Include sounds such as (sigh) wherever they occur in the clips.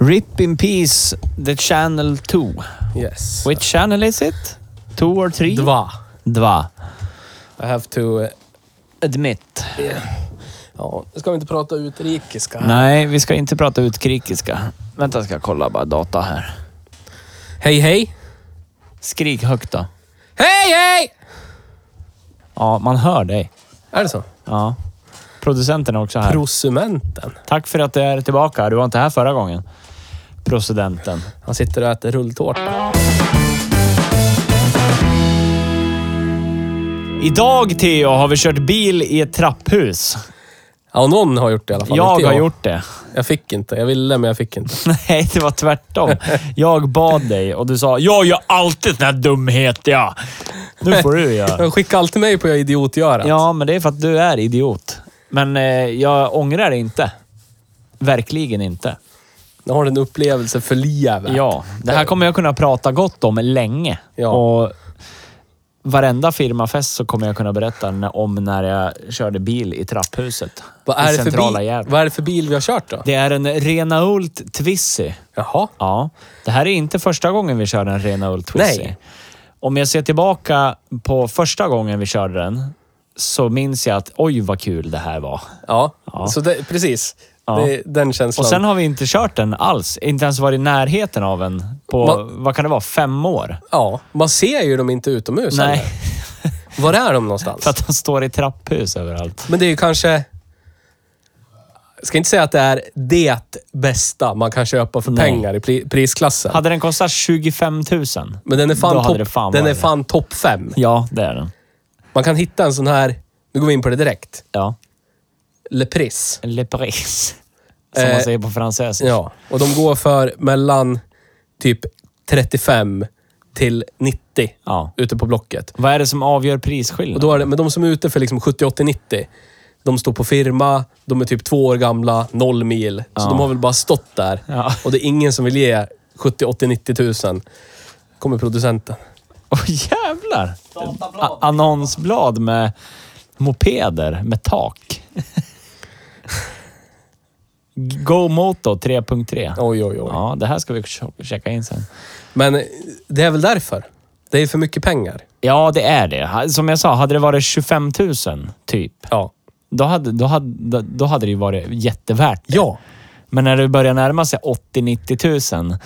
Rip in peace the channel 2. Yes. Which channel is it? Two or three? Dva. Dva. I have to... eh, Admit. Ja, nu ska vi inte prata utrikiska. Nej, vi ska inte prata utkrikiska. Vänta, jag ska kolla bara data här. Hej, hej! Skrik högt då. Hej, hej! Ja, man hör dig. Är det så? Ja. Producenten är också här. Prosumenten. Tack för att du är tillbaka. Du var inte här förra gången. Procedenten. Han sitter och äter rulltårta. Idag, Theo, har vi kört bil i ett trapphus. Ja, någon har gjort det i alla fall. Jag inte har gjort det. (laughs) Jag fick inte. Jag ville, men jag fick inte. Nej, det var tvärtom. Jag bad dig och du sa “Jag gör alltid sån här dumhet, ja”. Nu får du göra. De skickar alltid mig på idiotgörat. Ja, men det är för att du är idiot. Men eh, jag ångrar det inte. Verkligen inte. Nu har du en upplevelse för livet. Ja, det här kommer jag kunna prata gott om länge. Eh. Ja. Och varenda firmafest så kommer jag kunna berätta n- om när jag körde bil i trapphuset. Vad är, I det för centrala bil, Gävle. vad är det för bil vi har kört då? Det är en Renault Twizy. Jaha. Ja, det här är inte första gången vi kör en Renault Twizy. Nej. Om jag ser tillbaka på första gången vi körde den så minns jag att oj vad kul det här var. Ja, Ja. Så det, precis. Ja. Det är den känslan. Och sen har vi inte kört den alls. Inte ens varit i närheten av en på, Ma- vad kan det vara, fem år? Ja, man ser ju dem inte utomhus Nej, (laughs) heller. Var är de någonstans? för att de står i trapphus överallt. Men det är ju kanske... Jag ska inte säga att det är det bästa man kan köpa för Nej. pengar i pri- prisklassen. Hade den kostat 25 000, Men den är då fan hade topp det fan den är varit det. fan topp fem. Ja, det är den. Man kan hitta en sån här... Nu går vi in på det direkt. Ja. Le Pris. Le Paris. Som man Eh, säger på fransösiskt. Ja, och de går för mellan typ 35 till 90 Ja. ute på Blocket. Vad är det som avgör Och prisskillnaden? då är det, men de som är ute för liksom 70, 80, 90. De står på firma, de är typ två år gamla, noll mil. Så Ja. de har väl bara stått där. Ja. Och det är ingen som vill ge 70, 80, 90 tusen. Kommer producenten. Åh jävlar! A- annonsblad med mopeder med (laughs) tak. Go Moto 3.3. Oj, oj, oj. Ja, det här ska vi ch- checka in sen. Men eh, det är väl därför. Det är för mycket pengar. Ja, det är det. Ha- Som jag sa, hade det varit 25 000 typ, Ja. då hade, då hade, då hade det ju varit jättevärt. det. Ja. Men när det börjar närma sig 80-90 000,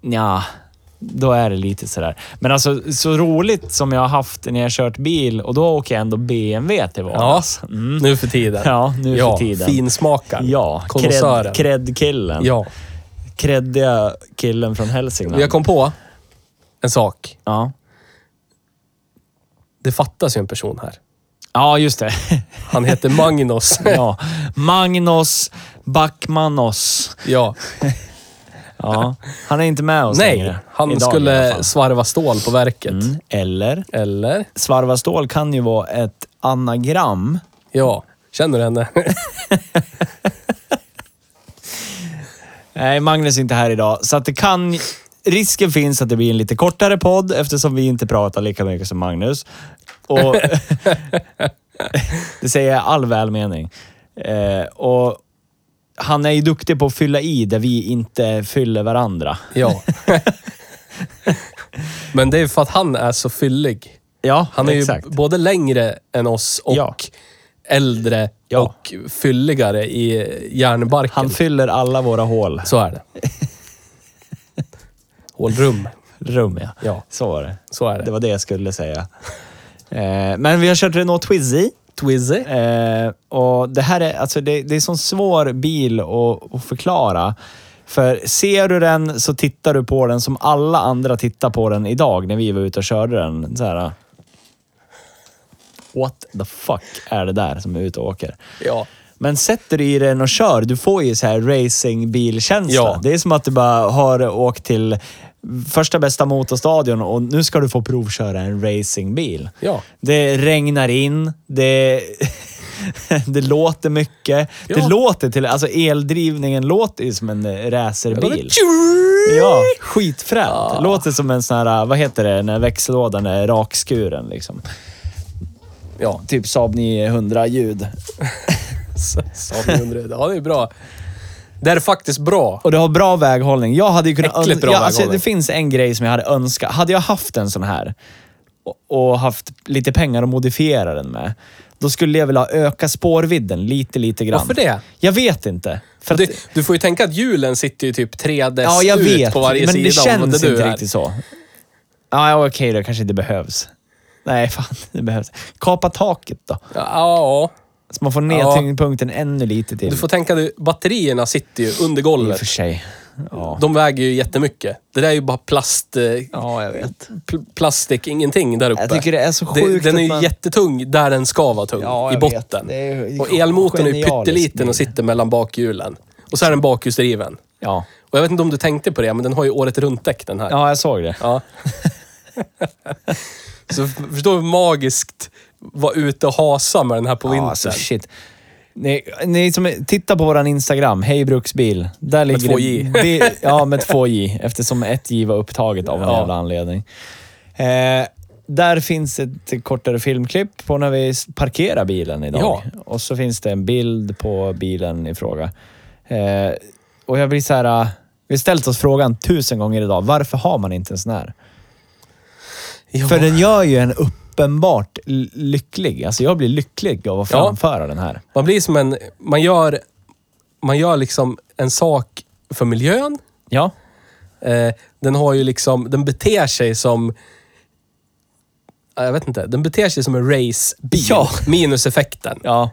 ja, då är det lite sådär. Men alltså, så roligt som jag har haft när jag har kört bil och då åker jag ändå BMW till ja. vardags. Nu för tiden. Mm. Ja, nu ja, för tiden. Finsmakaren. Ja, Konnässören. cred-killen. Ja. Creddiga killen från Hälsingland. Jag kom på en sak. Ja. Det fattas ju en person här. ja, just det. (laughs) Han heter Magnus. Ja. Magnus Backmanos. ja. Ja. Han är inte med oss Nej, längre. han Idag i alla skulle fall. svarva stål på verket. Mm, Eller? Eller? Svarva stål kan ju vara ett anagram. Ja. Känner (laughs) du henne? Nej, Magnus är inte här idag, så att det kan... Risken finns att det blir en lite kortare podd eftersom vi inte pratar lika mycket som Magnus. Och (laughs) det säger jag i all välmening. Eh, och han är ju duktig på att fylla i där vi inte fyller varandra. ja. Men det är för att han är så fyllig. Ja, Han är exakt. ju både längre än oss och Ja. äldre Ja. och fylligare i hjärnbarken. Han fyller alla våra hål. så är det. Hålrum. Rum, ja. Ja. Så var det. Så är det. Det var det jag skulle säga. Eh, men vi har kört Renault Twizy. Twizzy. Eh, och det här är, alltså det, det är en sån svår bil att, att förklara. För ser du den så tittar du på den som alla andra tittar på den idag när vi var ute och körde den. Så här, What the fuck är det där som är ute och åker? Ja. Men sätter du i den och kör, du får ju så här racingbilkänsla. Ja. Det är som att du bara har åkt till första bästa motorstadion och nu ska du få provköra en racingbil. Ja. Det regnar in, det, (laughs) det låter mycket. Det Ja. låter till... Alltså eldrivningen låter ju som en eh, racerbil. Ja, skitfränt. Låter som en sån här, eh, vad heter det, när växellådan är rakskuren liksom. Ja. Typ Saab 900-ljud. Saab 900. Ja, det är bra. Det här är faktiskt bra. Och det har bra väghållning. Jag hade ju kunnat... Äckligt öns- bra ja, alltså, väghållning. Det finns en grej som jag hade önskat. Hade jag haft en sån här och, och haft lite pengar att modifiera den med, då skulle jag vilja öka spårvidden lite, lite grann. Varför det? Jag vet inte. För att, Du, du får ju tänka att hjulen sitter ju typ 3D ja, jag ut vet. på varje men sida. det om känns vad inte är. riktigt så. Ja, ja, okej då. Kanske inte behövs. Nej, (laughs) fan. Det behövs. Kapa taket då. Ja, ja. Så man får ner Ja. tyngdpunkten ännu lite till. Du får tänka att batterierna sitter ju under I och golvet. för sig. Ja. De väger ju jättemycket. Det där är ju bara plast... eh, ja, jag vet. Pl- plastik, ingenting där uppe. Jag tycker det är så Det- sjukt Den är att ju man- jättetung där den ska vara tung. Ja, I jag vet. botten. Det är ju och elmotorn är ju genialisk pytteliten bil. och sitter mellan bakhjulen. Och så är den bakhjulsdriven. Ja. Och jag vet inte om du tänkte på det, men den har ju året runt-däck den här. ja, jag såg det. Ja. (laughs) så f- förstår du hur magiskt vara ute och hasa med den här på Ja, vintern. alltså shit. Ni, ni som tittar på våran Instagram, Hej Bruksbil. Där ligger (laughs) två det J. bi- ja, med två J. Eftersom ett J var upptaget av en Ja. jävla anledning. Eh, där finns ett kortare filmklipp på när vi s- parkerar bilen idag. Ja. Och så finns det en bild på bilen i fråga. Eh, och jag blir så här... eh, Vi har ställt oss frågan tusen gånger idag. Varför har man inte en sån här? ja. För den gör ju en uppenbart l- lycklig. Alltså jag blir lycklig av att Ja. framföra den här. Man blir som en... Man gör, man gör liksom en sak för miljön. Ja. Eh, den har ju liksom, den beter sig som... Ja, Jag vet inte. Den beter sig som en racebil. Ja. Minus effekten. Ja.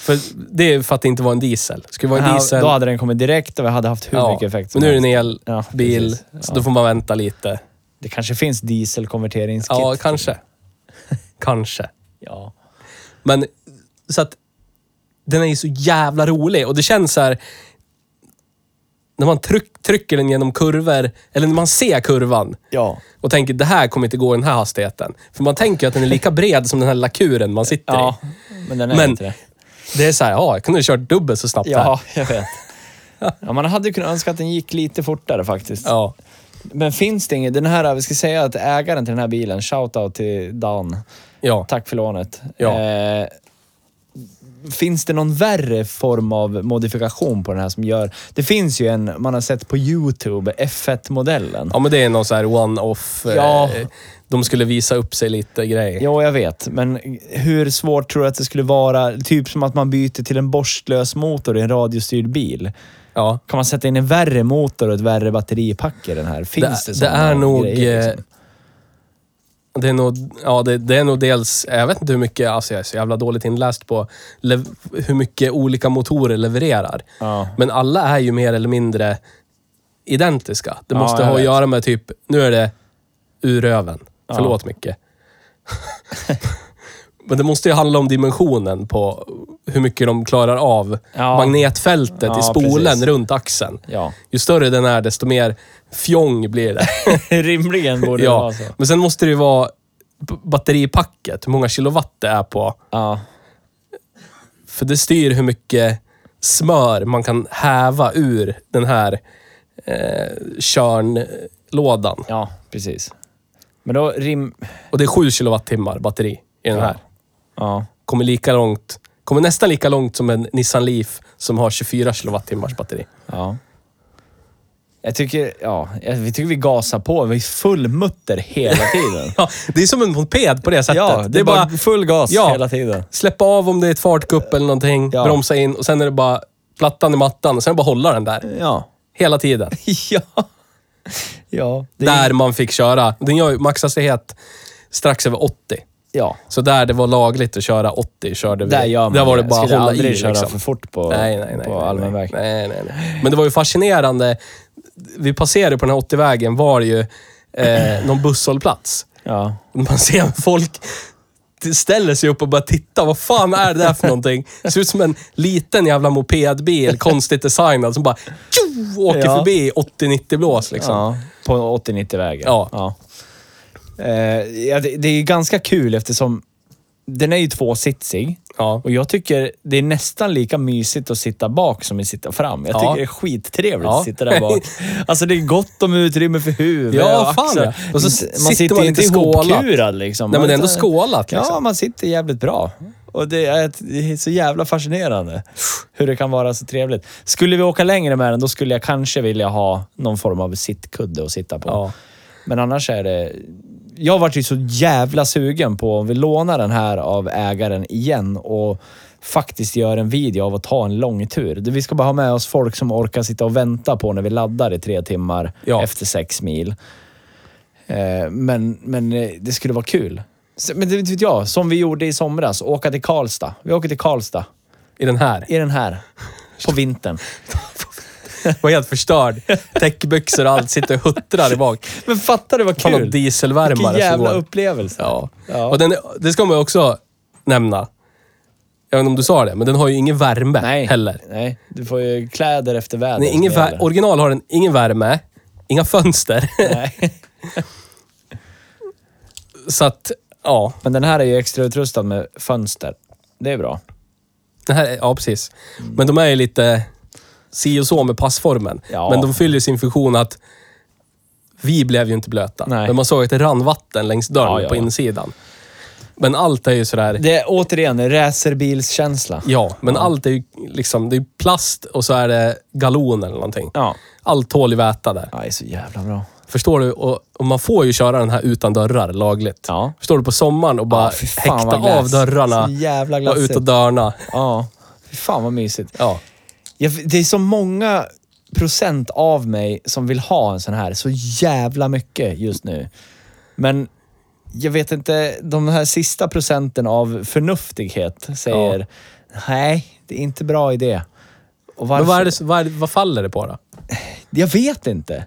För det är för att det inte var en diesel. Skulle det vara en diesel... Då hade den kommit direkt och vi hade haft hur ja, mycket effekt som Men nu är helst. det en Ja, elbil, precis. så Ja. då får man vänta lite. Det kanske finns dieselkonverteringskit. Ja, (laughs) kanske. kanske. Ja. Men så att den är ju så jävla rolig och det känns så här när man tryck, trycker den genom kurvor, eller när man ser kurvan Ja. och tänker det här kommer inte gå i den här hastigheten. För man tänker ju att den är lika bred som den här lakuren man sitter ja. i. Men den är Men- inte det. Det är så här, ja, jag kunde ha kört dubbelt så snabbt här. Ja, jag vet. (laughs) Ja, man hade ju kunnat önska att den gick lite fortare faktiskt. Ja. Men finns det inget... Den här, vi ska säga att ägaren till den här bilen, shoutout till Dan. Ja. Tack för lånet. Ja. Eh, finns det någon värre form av modifikation på den här som gör... Det finns ju en man har sett på YouTube, F1-modellen. ja, men det är någon så här one-off. Ja. Eh, de skulle visa upp sig lite grej. Ja, jag vet. Men hur svårt tror du att det skulle vara? Typ som att man byter till en borstlös motor i en radiostyrd bil. Ja. Kan man sätta in en värre motor och ett värre batteripack i den här? Finns det, Det, det, sådana är nog... grejer, eh, liksom? Det är nog, ja, det, det är nog dels, jag vet inte hur mycket, alltså jag är så jävla dåligt inläst på lev, hur mycket olika motorer levererar. Ja. Men alla är ju mer eller mindre identiska. Det Ja, måste jag ha att vet. göra med typ, nu är det ur röven. Förlåt mycket. (laughs) Men det måste ju handla om dimensionen på hur mycket de klarar av Ja. magnetfältet i Ja, spolen precis. runt axeln. Ja. Ju större den är, desto mer fjong blir det. (laughs) (laughs) Rimligen borde det Ja, vara så. men sen måste det ju vara b- batteripacket, hur många kilowatt det är på. Ja. För det styr hur mycket smör man kan häva ur den här eh, körnlådan. ja, precis. Men då rim... Och det är 7 kilowattimmar batteri i den här. Ja. Kommer lika långt, kommer nästan lika långt som en Nissan Leaf som har 24 kilowattimmars batteri. Ja. Jag tycker, ja, jag, vi tycker vi gasar på. Vi är fullmutter hela tiden. Ja, det är som en moped på det (laughs) sättet. ja, det, är bara, full gas Ja. hela tiden. släppa av om det är ett fartgupp eller någonting, Ja. bromsa in och sen är det bara plattan i mattan och sen är det bara hålla den där. Ja. Hela tiden. (laughs) Ja. Ja. Det är- Där man fick köra. Den gör ju maxhastighet strax över 80. Ja. Så där det var lagligt att köra 80 körde vi. Där gör man där var det bara att Skulle hålla aldrig i köra liksom. för fort på, nej, nej, nej, på nej, allmän nej, väg. nej, nej, nej. Men det var ju fascinerande. Vi passerade på den här 80-vägen var det ju eh, någon busshållplats. Ja. Man ser folk ställer sig upp och bara titta. Vad fan är det där för någonting? Det ser ut som en liten jävla mopedbil, konstigt designad, som bara tjo, åker Ja. förbi i 80-90 blås. Liksom. Ja, på 80-90-vägen. Ja. Eh, ja, det, det är ju ganska kul eftersom den är ju tvåsitsig. Ja. Och jag tycker det är nästan lika mysigt att sitta bak som att sitta fram. Jag Ja. tycker det är skittrevligt Ja. att sitta där (laughs) bak. Alltså det är gott om utrymme för huvud Ja, och fan, axlar. ja. Och så s- man sitter sitter man inte lite skålat. ihopkurad liksom. Nej, men det är ändå Utan- skålat. Liksom. Ja, man sitter jävligt bra. Och det är, ett, det är så jävla fascinerande hur det kan vara så trevligt. Skulle vi åka längre med den, då skulle jag kanske vilja ha någon form av sittkudde att sitta på. Ja. Men annars är det... Jag vart ju så jävla sugen på om vi lånar den här av ägaren igen och faktiskt gör en video av att ta en lång tur. Vi ska bara ha med oss folk som orkar sitta och vänta på när vi laddar i tre timmar Ja. efter sex mil. Eh, Men, men eh, det skulle vara kul. Så- Men det vet jag, som vi gjorde i somras, åka till Karlstad. Vi åker till Karlstad I den här. i den här. På vintern. var helt förstörd. Täckbyxor och allt. Sitter och huttrar i bak. (laughs) Men fattar du vad Fan, någon kul? Vilken dieselvärmare som jävla går. upplevelse. Ja. Ja. Och den, det ska man ju också nämna. Jag vet inte om du sa det, men den har ju ingen värme Nej. heller. Nej, du får ju kläder efter väder. Nej, ingen som vär- gäller. original har den ingen värme, inga fönster. (laughs) Nej. Så att, ja. (laughs) Men den här är ju extra utrustad med fönster. Det är bra. Det här, är- ja, precis. Mm. Men de är ju lite si och så med passformen. Ja. Men de fyller ju sin funktion att vi blev ju inte blöta. Nej. Men man såg att det rann vatten längs dörren Ja, ja, på ja. insidan. Men allt är ju sådär... Det är återigen racerbilskänsla. Ja, men allt är ju liksom... Det är plast och så är det galon eller någonting. Ja. Allt tål ju väta där. ja. Det är så jävla bra. Förstår du? Och, och man får ju köra den här utan dörrar lagligt. Ja. Förstår du? På sommaren och bara Ja, fy fan, häkta vad glass. av dörrarna. Så jävla och glassigt. ut och dörna. Ja. Fy fan vad mysigt. Ja. Jag, det är så många procent av mig som vill ha en sån här så jävla mycket just nu. Men jag vet inte, de här sista procenten av förnuftighet säger nej, det är inte bra idé. Och varför? Men vad, är det, vad, är det, vad faller det på då? Jag vet inte.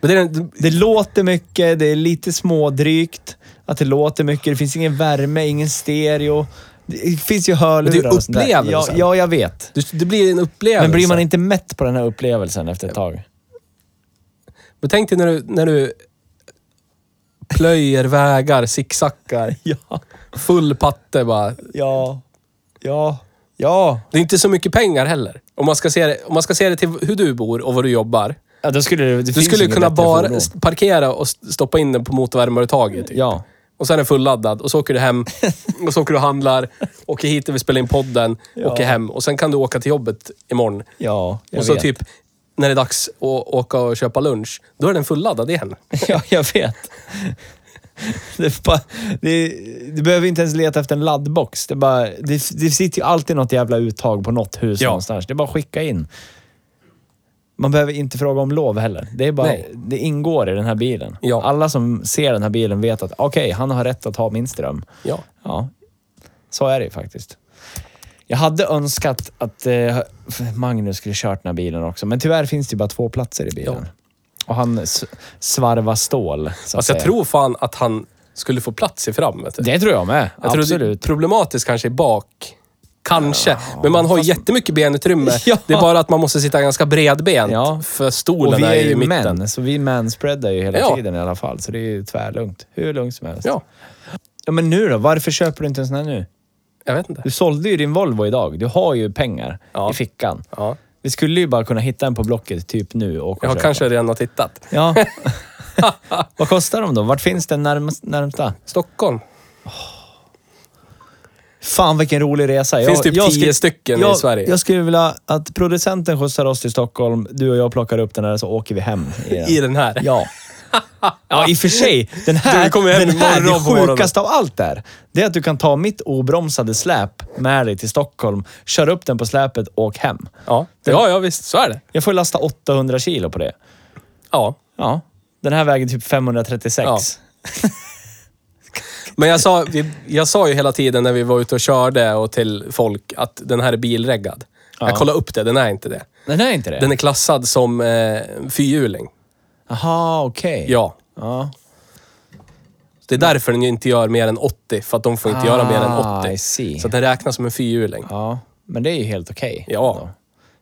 Men det är den, Det låter mycket, det är lite smådrygt. Att det låter mycket, det finns ingen värme, ingen stereo. Det finns ju hörlurar Men det är ju och sånt där. Ja, upplevelsen. ja, jag vet. du- det blir en upplevelse. Men blir man inte mätt på den här upplevelsen efter ett tag? Men tänk dig när du, när du plöjer vägar, sicksackar, Ja. full patte bara. Ja. Ja. Ja. Det är inte så mycket pengar heller. Om man ska se det, om man ska se det till hur du bor och var du jobbar. ja då skulle det, det Du finns skulle inget kunna bättre bara fordon. typ. st- parkera och st- stoppa in den på motorvärmeövertaget. Typ. Ja. Och sen är den fulladdad och så åker (laughs) du hem och så åker du och handlar, åker hit där vi spelar in podden, åker hem och sen kan du åka till jobbet imorgon. Ja, jag och så vet. typ när det är dags att åka och köpa lunch, då är den fulladdad igen. (laughs) Ja, jag vet. Det är bara, det, du behöver inte ens leta efter en laddbox. Det, är bara, det, det sitter ju alltid något jävla uttag på något hus Ja. någonstans. Det är bara att skicka in. Man behöver inte fråga om lov heller. Det, är bara, Nej. det ingår i den här bilen. Ja. Alla som ser den här bilen vet att okej, han har rätt att ha min ström. Ja. Ja, så är det ju faktiskt. Jag hade önskat att eh, Magnus skulle kört den här bilen också, men tyvärr finns det ju bara två platser i bilen. Och han s- svarvar stål, så att Alltså jag säga. tror fan att han skulle få plats i fram. Vet du. Det tror jag med. jag tror det är Absolut. problematiskt kanske i bak. Kanske. Men man har ju jättemycket benutrymme. (laughs) Ja. Det är bara att man måste sitta ganska bredbent. Ja. För stolen Och vi är i ju mitten. män, så vi manspreadar ju hela Ja. tiden i alla fall. Så det är ju tvärlugnt. Hur lugnt som helst. Ja, ja, men nu då? Varför köper du inte en sån här nu? jag vet inte. Du sålde ju din Volvo idag. Du har ju pengar Ja. i fickan. Ja. Vi skulle ju bara kunna hitta en på Blocket typ nu och åka Jag och har köpa. kanske redan har tittat. Ja. (laughs) Vad kostar de då? Vart finns den närmast, närmsta? Stockholm. Fan vilken rolig resa. Finns typ 10 stycken i jag, Sverige. Jag skulle vilja att producenten skjutsar oss till Stockholm, du och jag plockar upp den här så åker vi hem. den. I den här. Ja. Ja, i och för sig. Den här, Du kommer hem den här imorgon på det morgonen. sjukaste av allt där. Det är att du kan ta mitt obromsade släp med dig till Stockholm, köra upp den på släpet och åk hem. Ja. ja, ja visst. Så är det. Jag får lasta 800 kilo på det. Ja. Ja. Den här väger typ 536. Ja. Men jag sa, vi, jag sa ju hela tiden när vi var ute och körde och till folk att den här är bilreggad. Jag kollade upp det, den är inte det. Den är inte det? Den är klassad som eh, fyrhjuling. Aha, okej. Ja. Ja. Det är därför den ju inte gör mer än 80, för att de får inte göra mer Ah, än 80. I see. Så att den räknas som en fyrhjuling. ja. Men det är ju helt okej. Ja.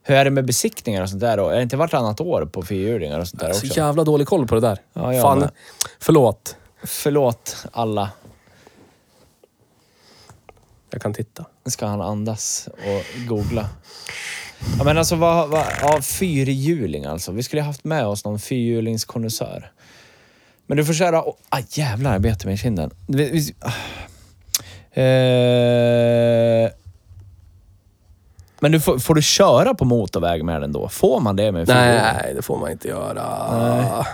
Hur är det med besiktningar och sånt där då? Är det inte vartannat år på fyrhjulingar och sånt där Så också? jävla dålig koll på det där. Ja, jag Alltså, Fan. med. Förlåt. Förlåt alla. Jag kan titta. Nu ska han andas och googla. Ja, men alltså vad... vad ja, fyrhjuling alltså. Vi skulle ha haft med oss någon fyrhjulingskonnässör. Men du får köra... Oh, ah, jävlar, jag bet mig i kinden. Vi, vi, ah. eh, men du får, får du köra på motorväg med den då? Får man det med en fyrhjuling? Nej, det får man inte göra. Nej.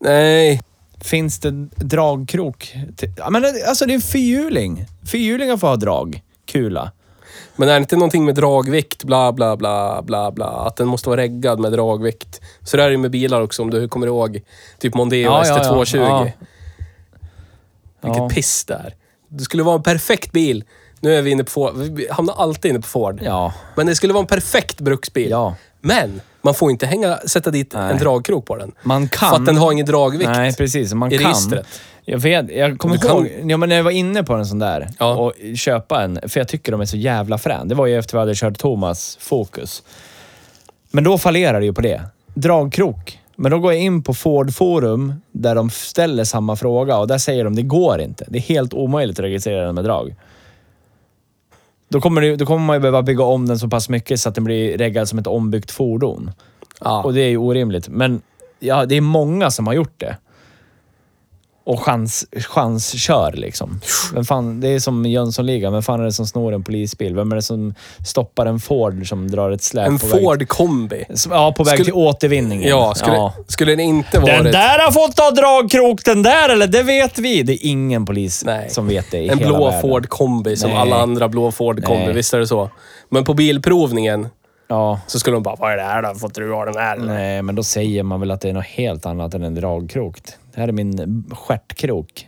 Nej. Finns det dragkrok? till- Ja, men det- alltså det är en fyrhjuling. Fyrhjulingar får ha drag. Kula. Men är det inte någonting med dragvikt, bla bla bla bla bla. Att den måste vara reggad med dragvikt. Så där är det ju med bilar också om du kommer ihåg. Typ Mondeo Ja, ja, ja. ST220. Ja. Vilket Ja. piss det är. Det skulle vara en perfekt bil. Nu är vi inne på Ford. Vi hamnar alltid inne på Ford. Ja. Men det skulle vara en perfekt bruksbil. Ja. Men man får inte hänga, sätta dit en dragkrok på den. Man kan. För att den har ingen dragvikt. Nej, precis. Man i kan. registret. Jag vet, jag Du kommer kan- ihåg ja, men när jag var inne på en sån där Ja. och köpa en, för jag tycker de är så jävla frän. Det var ju efter vi hade kört Thomas Focus. Men då fallerar det ju på det. Dragkrok. Men då går jag in på Ford Forum där de ställer samma fråga och där säger de det går inte. Det är helt omöjligt att registrera den med drag. Då kommer, det, då kommer man ju behöva bygga om den så pass mycket så att den blir reggad som ett ombyggt fordon. Ja. Och det är ju orimligt. Men ja, det är många som har gjort det. Och chans, chanskör liksom. Vem fan, det är som Jönssonligan. Vem fan är det som snor en polisbil? Vem är det som stoppar en Ford som drar ett släp En på väg- Ford kombi. Som- Ja, på väg Skulle- till återvinningen. Ja, skulle, skulle den inte varit... Den där har fått ta dragkrok den där eller? Det vet vi. Det är ingen polis Nej. som vet det i En hela blå världen. Ford kombi som Nej. alla andra blå Ford kombi, Nej. visst är det så? Men på bilprovningen Ja. så skulle de bara, vad är det här då? Fått du ha den här eller?" Nej, men då säger man väl att det är något helt annat än en dragkrok. Det här är min stjärtkrok.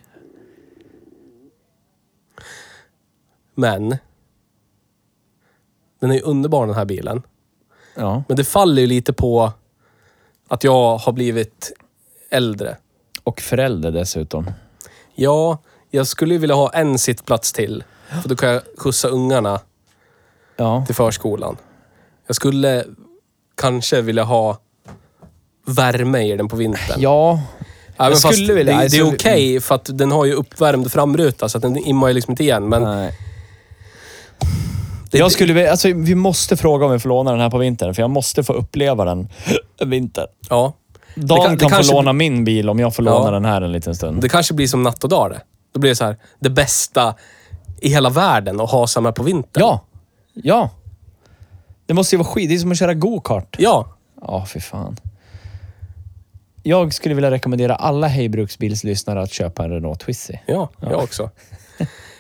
Men, den är ju underbar den här bilen. Ja. Men det faller ju lite på att jag har blivit äldre. Och förälder dessutom. Ja, jag skulle ju vilja ha en sittplats till. För då kan jag skjutsa ungarna Ja. till förskolan. Jag skulle kanske vilja ha värme i den på Ja. vintern. Ja, men Jag fast skulle vilja- det, jag det är okej, skulle- Mm. för att den har ju uppvärmd framruta, så att den immar ju liksom inte igen. Men Nej. det, jag skulle vilja, alltså, vi måste fråga om vi får låna den här på vintern, för jag måste få uppleva den (laughs) vintern. ja, Dan kan- kan, det kanske- få låna min bil om jag får Ja. låna den här en liten stund. det kanske blir som natt och dag det. Då blir det så här, det bästa i hela världen att ha samma på vintern. Ja. Ja. Det måste ju vara skit. Det är som att köra go-kart. Ja. Ja, fy fan. Jag skulle vilja rekommendera alla Hej Bruksbils lyssnare att köpa en Renault Twizy. Ja, jag också.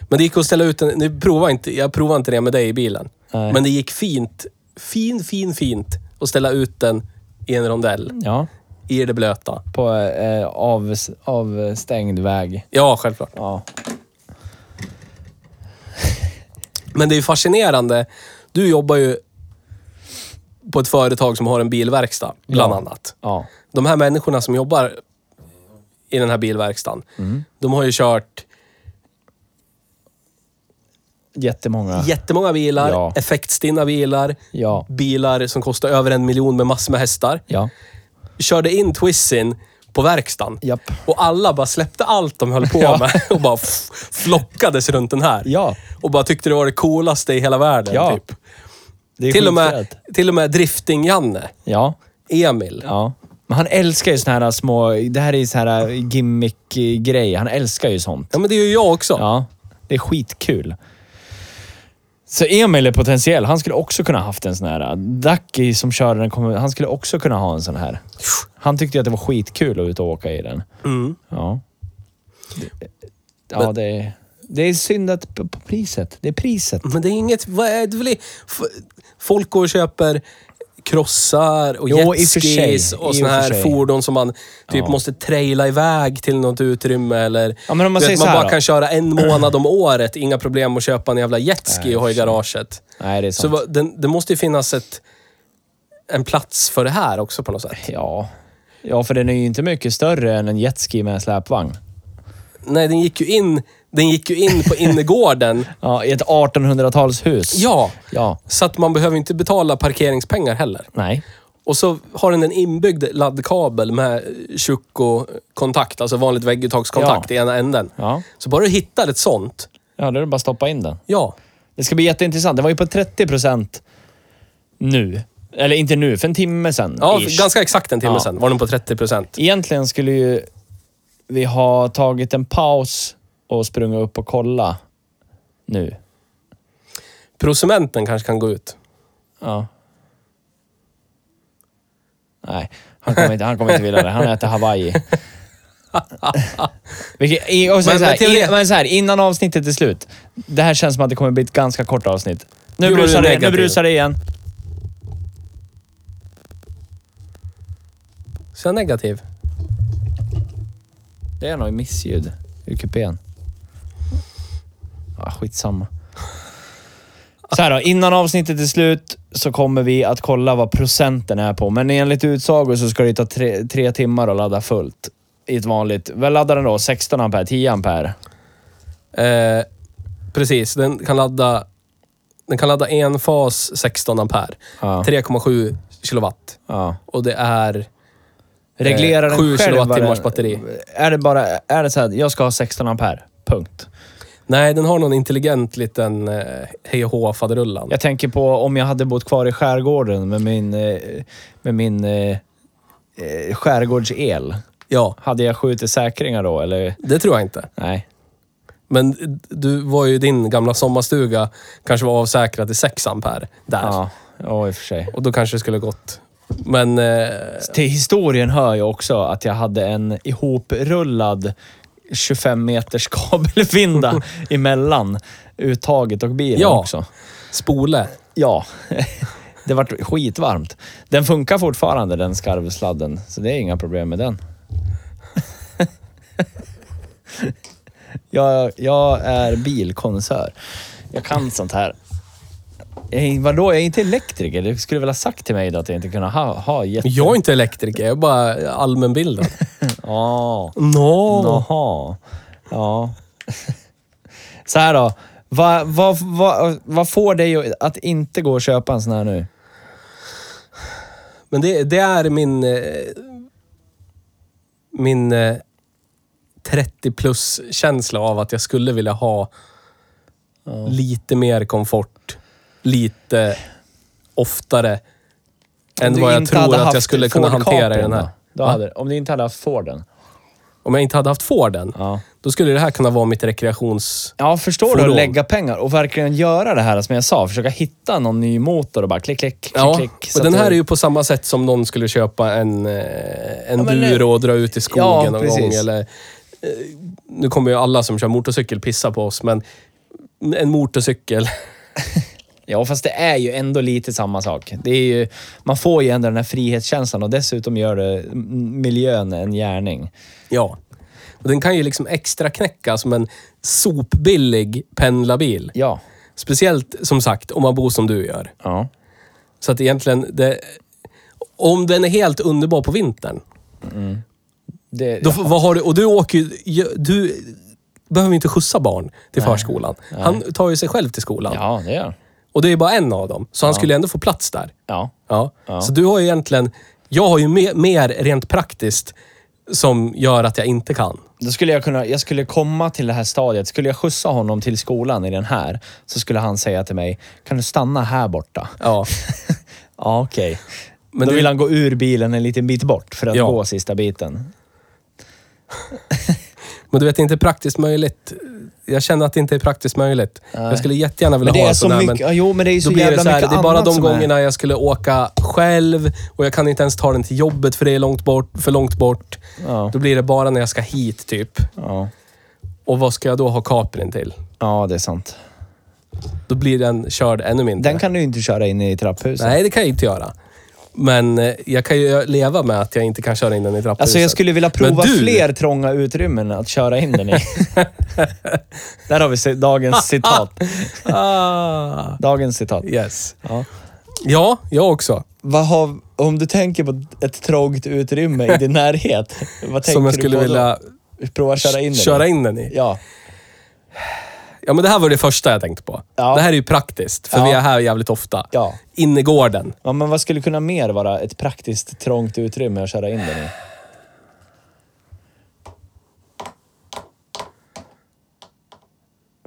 Men det gick att ställa ut den. Nu provar inte, jag provar inte det med dig i bilen. Nej. Men det gick fint. Fin, fin, fint att ställa ut den i en rondell. Ja. I det blöta. På eh, av, avstängd väg. Ja, självklart. Ja. Men det är ju fascinerande. Du jobbar ju på ett företag som har en bilverkstad, bland Ja. annat. Ja. De här människorna som jobbar i den här bilverkstaden, Mm. de har ju kört Jättemånga. jättemånga bilar, Ja. effektstinna bilar, Ja. bilar som kostar över en miljon med massor med hästar. Ja. Körde in Twizzin på verkstaden. Japp. Och alla bara släppte allt de höll på Ja. med och bara f- flockades runt den här. Ja. Och bara tyckte det var det coolaste i hela världen. Ja. Typ. Det är Till och, med, skitfränt. till och med Drifting-Janne, Ja. Emil. Ja. Men han älskar ju såna här små... Det här är ju såna här eh, gimmick-grej. Han älskar ju sånt. Ja, men det är ju jag också. Ja. Det är skitkul. Så Emil är potentiell. Han skulle också kunna haft en sån här. äh, Ducky som körde den, kommer- han skulle också kunna ha en sån här. Han tyckte ju att det var skitkul att ut och åka i den. Mm. Ja. Det, ja, det är... Det är synd att på på priset. Det är priset. Men det är inget... Vad är det väl, i- f- folk går och köper crossar och Jo, i och för jetskis sig. och I såna och för sig. här fordon som man typ måste traila iväg till något utrymme eller... Ja, men om man du säger vet, så man här bara då. kan köra en månad om året, inga problem att köpa en jävla jetski och ha i garaget. Nej, det är sant. Så vad- den- det måste ju finnas ett, en plats för det här också på något sätt. Ja. ja, för den är ju inte mycket större än en jetski med en släpvagn. Nej, den gick ju in, den gick ju (laughs) in på innergården. Ja, I ett 1800-talshus. Ja, Ja. så att man behöver inte betala parkeringspengar heller. Nej. Och så har den en inbyggd laddkabel med tjocko-kontakt, alltså vanligt vägguttagskontakt i ena änden. Ja. Så bara du hittar ett sånt, ja, då är det bara att stoppa in den. ja. Det ska bli jätteintressant. Det var ju på 30 procent nu. Eller inte nu, för en timme sedan. Ja, ish. för ganska exakt en timme Ja. sedan var den på 30 procent. Egentligen skulle ju vi ha tagit en paus och sprungit upp och kolla nu. Prosumenten kanske kan gå ut. Ja. Nej, han kommer inte, han kommer inte vilja det. Han äter (laughs) Hawaii. Vilket, i- och Men- sen så men här, teoretiskt- in, men så här, innan avsnittet är slut. Det här känns som att det kommer bli ett ganska kort avsnitt. Nu, Nu var du brusar det, nu negativ. brusar det igen. Så jag är negativ. Det är nog missljud i kupén. Ah, skitsamma. Så här då, innan avsnittet är slut så kommer vi att kolla vad procenten är på. Men enligt utsago så ska det ta tre, tre timmar att ladda fullt. I ett vanligt... Vad laddar den då? 16 ampere? 10 ampere? Eh, precis, den kan ladda den kan ladda en fas 16 ampere. Ja. 3,7 kilowatt. Ja. Och det är... Reglerar Eh, den sju själv vad kilowattimmars den- batteri. Är det bara... Är det så här, jag ska ha 16 ampere. Punkt. Nej, den har någon intelligent liten eh, hej och hå-faderullan. Jag tänker på om jag hade bott kvar i skärgården med min... eh, Med min... eh, eh, Skärgårdsel. Ja, Hade jag skjutit säkringar då eller? det tror jag inte. Nej. Men du var ju din gamla sommarstuga kanske var avsäkrad till 6 ampere där. Ja, ja i och för sig. Och då kanske det skulle gått. Men... Eh, Till historien hör ju också att jag hade en ihoprullad 25 meters kabelfinda emellan uttaget och bilen Ja. också. spole. Ja. (laughs) Det vart skitvarmt. Den funkar fortfarande den skarvsladden, så det är inga problem med den. (laughs) Jag, jag är bilkonsör. Jag kan sånt här. Eh, Vadå, jag är inte elektriker. Du skulle väl ha sagt till mig att jag inte kunde ha, ha jätte... Jag är inte elektriker, jag är bara allmänbildad. Ja. No. Jaha. Ja. (laughs) Så här då. Vad vad vad vad får dig att inte gå och köpa en sån här nu? Men det, det är min... eh, Min eh, 30 plus-känsla av att jag skulle vilja ha lite mer komfort. Lite oftare. Än du vad jag inte hade tror att jag haft skulle kunna Ford hantera i Capri den här. då? Då Va? hade, om du inte hade haft Forden. Om jag inte hade haft Forden, Ja. då skulle det här kunna vara mitt rekreations... Ja, förstår du? Fordon. Att lägga pengar och verkligen göra det här som jag sa. Försöka hitta någon ny motor och bara klick, klick, klick, Ja, klick. Så och att den här du- är ju på samma sätt som någon skulle köpa en, eh, en Ja, men nu- duro och dra ut i skogen Ja, någon precis. gång. Eller, eh, nu kommer ju alla som kör motorcykel pissa på oss, men en motorcykel. (laughs) Ja, fast det är ju ändå lite samma sak. Det är ju, man får ju ändå den här frihetskänslan och dessutom gör det m- miljön en gärning. ja. Och den kan ju liksom extra knäcka som en sopbillig pendlarbil. Ja. Speciellt, som sagt, om man bor som du gör. Ja. Så att egentligen, det, om den är helt underbar på vintern, Det, Då, vad har du, och du åker ju... ju- Du behöver ju inte skjutsa barn till förskolan. Han tar ju sig själv till skolan. ja, det gör Och det är bara en av dem. Så han skulle ändå få plats där. Ja. Ja. Så du har ju egentligen... Jag har ju mer, mer rent praktiskt som gör att jag inte kan. Då skulle jag kunna, jag skulle komma till det här stadiet. Skulle jag skjutsa honom till skolan i den här så skulle han säga till mig, kan du stanna här borta? Ja. (laughs) Ja, okej. Men Men då du- vill han gå ur bilen en liten bit bort för att Ja. gå sista biten. Men du vet, det är inte praktiskt möjligt. Jag känner att det inte är praktiskt möjligt. Jag skulle jättegärna vilja Men det ha är en sån så här, mycket, ja, jo men det är ju så Då blir jävla det så här, mycket det är bara annat de som är- gångerna jag skulle åka själv och jag kan inte ens ta den till jobbet för det är långt bort, för långt bort. Ja. Då blir det bara när jag ska hit typ. Ja. Och vad ska jag då ha kapeln till? ja, det är sant. Då blir den körd ännu mindre. Den kan du ju inte köra in i trapphuset. Nej, det kan jag inte göra. Men eh, jag kan ju leva med att jag inte kan köra in den i trapphuset. Alltså jag skulle vilja prova Men du- fler trånga utrymmen att köra in den i. Där har vi se- (laughs) dagens citat. (laughs) Ah, Dagens citat. yes. Ja. Ja, jag också. Vad har, om du tänker på ett trångt utrymme i din närhet, vad tänker Som jag skulle du på vilja då? Prova köra in den köra i? in den i. Ja. Ja, men det här var det första jag tänkte på. Ja. Det här är ju praktiskt, för Ja. vi är här jävligt ofta. Ja. Innergården. ja, men vad skulle kunna mer vara ett praktiskt trångt utrymme att köra in den i?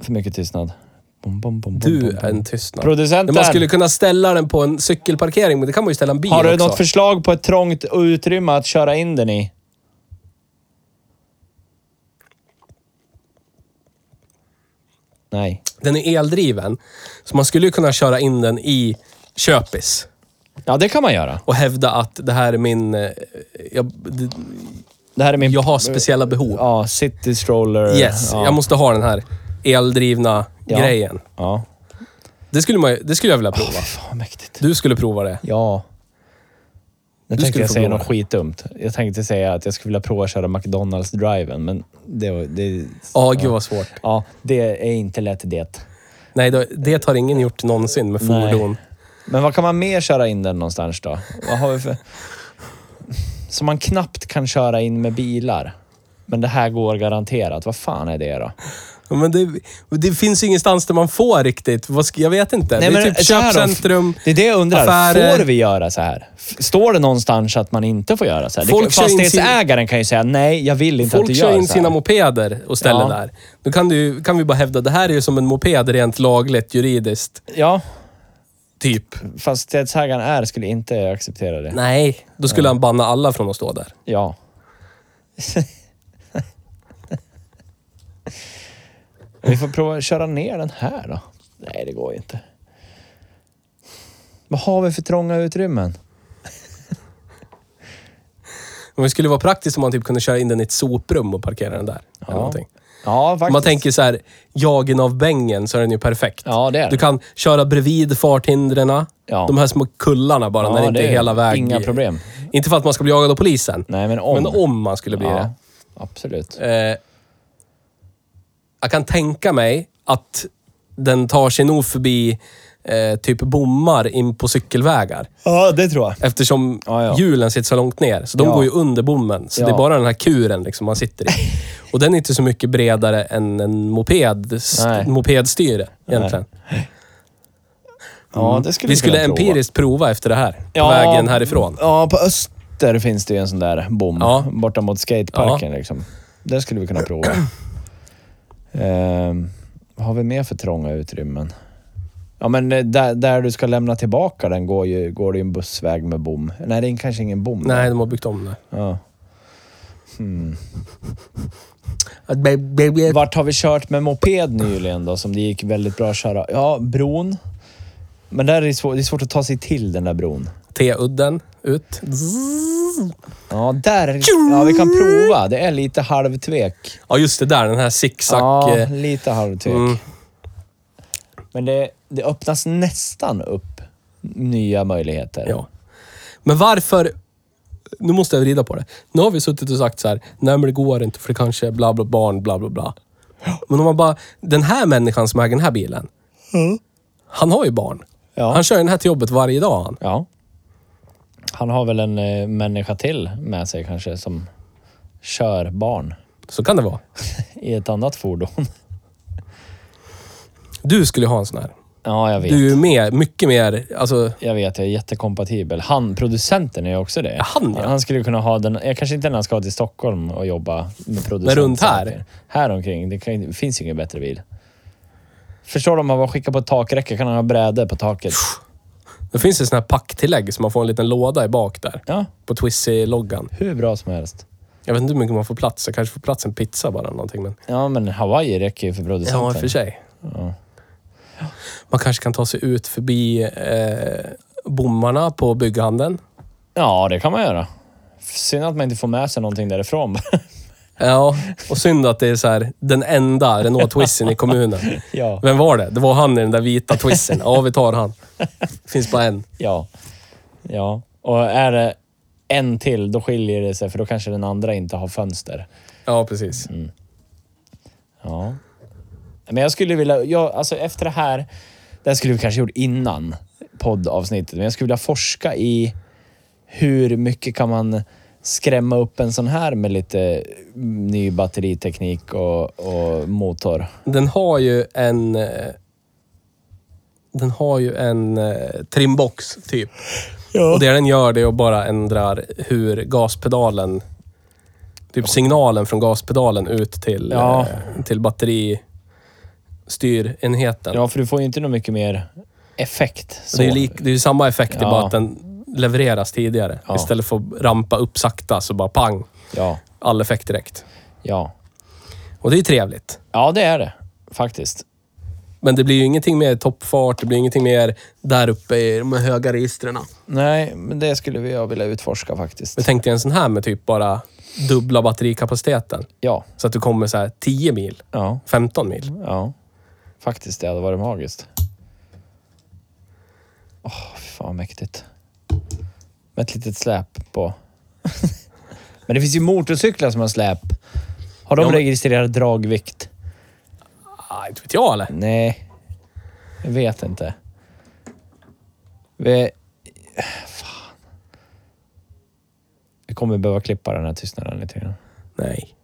För mycket tystnad. Bom, bom, bom, bom, bom, Du bom. är en tystnad. Producenten! Man skulle kunna ställa den på en cykelparkering, men det kan man ju ställa en bil Har du också. något förslag på ett trångt utrymme att köra in den i? Nej. Den är eldriven, så man skulle ju kunna köra in den i köpis Ja, det kan man göra. och hävda att det här är min... eh, Jag, det- Det här är min... jag har speciella behov. Ja, city stroller. Yes, ja. jag måste ha den här eldrivna Ja. grejen. Ja. Det skulle, man, ju- det skulle jag vilja prova. Fan, mäktigt. Du skulle prova det. Ja. Nu Du tänkte skulle jag få säga prova. något skitdumt. Jag tänkte säga att jag skulle vilja prova att köra McDonalds-driven, men det... var- det Ja, gud vad svårt. ja, det är inte lätt det. Nej, då- det har ingen gjort någonsin med Nej. fordon. Men vad kan man mer köra in den någonstans då? Vad har vi för... Som man knappt kan köra in med bilar. Men det här går garanterat. Vad fan är det då? Ja, Men det, det finns ju ingenstans där man får riktigt. Vad ska, jag vet inte. det är typ så här då, köpcentrum, Det är det jag undrar. affärer. Får vi göra så här? F- Står det någonstans att man inte får göra så här? Det- Folk kör in sin- Fastighetsägaren kan ju säga nej, jag vill inte att Folk du kör gör in så här. sina mopeder och ställer Ja. där. Då kan, du, kan vi bara hävda, det här är ju som en moped rent lagligt, juridiskt, Ja, typ. fastighetsägaren är skulle inte acceptera det. Nej. Då skulle han banna alla från att stå där. (laughs) Ja. Vi får prova att köra ner den här då. Nej, det går ju inte. Vad har vi för trånga utrymmen? Men det skulle vara praktiskt om man typ kunde köra in den i ett soprum och parkera den där. Eller någonting. Ja, faktiskt. Om man tänker så här, jagen av bängen så är den ju perfekt. Ja, det är Du den. kan köra bredvid farthindren. Ja. De här små kullarna bara, Ja, när det inte det är är hela vägen. inga problem. Inte för att man ska bli jagad av polisen. Nej, men om. Men om man skulle bli ja, det. Absolut. Eh, jag kan tänka mig att den tar sig nog förbi eh, typ bommar in på cykelvägar. Ja, det tror jag. Eftersom Ja, ja. hjulen sitter så långt ner, så de Ja. går ju under bommen. Så det är Ja. bara den här kuren liksom (laughs) man sitter i. Och den är inte så mycket bredare än en moped, st- Nej. mopedstyre egentligen. Ja, det skulle Mm. Vi skulle kunna prova. empiriskt prova efter det här, på vägen härifrån. Ja, på öster finns det ju en sån där bom Ja. borta mot skateparken. Liksom. Det skulle vi kunna prova. Ehm, vad har vi mer för trånga utrymmen? Ja, men eh, där, där du ska lämna tillbaka den går, ju, går det ju en bussväg med bom. Nej, det är kanske ingen bom. Nej, de har byggt om det. Ja. Att be- be- be- Vart har vi kört med moped nyligen då, som det gick väldigt bra att köra? Ja, bron. Men där är det, svårt, det är svårt att ta sig till den där bron. T-udden ut. Mm. Ja, där är det, Ja, vi kan prova. Det är lite halvtvek. Ja, just det där. Den här zigzag... Ja, eh, lite halvtvek. Mm. Men det, det öppnas nästan upp nya möjligheter. Ja. Men varför... Nu måste jag vrida på det. Nu har vi suttit och sagt så här, nej men det går inte för det kanske är bla bla barn, bla bla bla. Men om man bara, den här människan som äger den här bilen, han har ju barn. Mm. Ja. Han kör ju den här till jobbet varje dag han. Ja. Han har väl en eh, människa till med sig kanske som kör barn Så kan det vara. i ett annat fordon. (laughs) Du skulle ju ha en sån här. Ja, jag vet. Du är ju mer, mycket mer, alltså... Jag vet, jag är jättekompatibel. Han, producenten, är ju också det. han, ja. han skulle kunna ha den... Jag kanske inte när han ska till Stockholm och jobba med producent. Men runt här? saker. Här omkring. Det, kan, det finns ju ingen bättre bil. Förstår du? Om man bara skickar på ett takräcke kan han ha brädor på taket. Det finns ju sån här packtillägg så man får en liten låda i bak där. Ja, På Twizy-loggan. hur bra som helst. Jag vet inte hur mycket man får plats. Jag kanske får plats en pizza bara eller någonting. Men... Ja, men Hawaii räcker ju för producenten. Ja, i och för sig. Man kanske kan ta sig ut förbi eh, bommarna på bygghandeln. Ja, det kan man göra. Synd att man inte får med sig någonting därifrån. (laughs) Ja, och synd att det är så här, den enda (laughs) Renault Twizen i kommunen. ja. Vem var det? Det var han i den där vita Twizen. Ja, vi tar han. Finns bara en. Ja. Ja. Och är det en till, då skiljer det sig för då kanske den andra inte har fönster. Ja, precis. Ja. Men jag skulle vilja, jag, alltså efter det här, det här skulle vi kanske gjort innan poddavsnittet, men jag skulle vilja forska i hur mycket kan man skrämma upp en sån här med lite ny batteriteknik och, och motor. Den har ju en... eh, Den har ju en eh, trimbox, typ. Ja. Och det den gör det är att bara ändrar hur gaspedalen... Typ signalen från gaspedalen ut till, Ja. eh, till batteristyrenheten. ja, för du får ju inte något mycket mer effekt. Så Så. det är ju lik, det är ju samma effekt, det är Ja. bara att den levereras tidigare. Ja. Istället för att rampa upp sakta så bara pang, Ja, all effekt direkt. ja. Och det är ju trevligt. ja, det är det faktiskt. Men det blir ju ingenting mer toppfart, det blir ingenting mer där uppe i de här höga registren. Nej, men det skulle jag vilja utforska faktiskt. Men tänk dig en sån här med typ bara dubbla batterikapaciteten. Ja, Så att du kommer så här 10 mil, ja. 15 mil. Ja, faktiskt. Det hade varit magiskt. Åh, fy fan vad mäktigt. Med ett litet släp på. (laughs) men det finns ju motorcyklar som har släp. Har de Ja, men- registrerat dragvikt? Ah, inte vet jag eller? Nej, jag vet inte. Vi... Fan. Vi kommer behöva klippa den här tystnaden lite grann. Nej.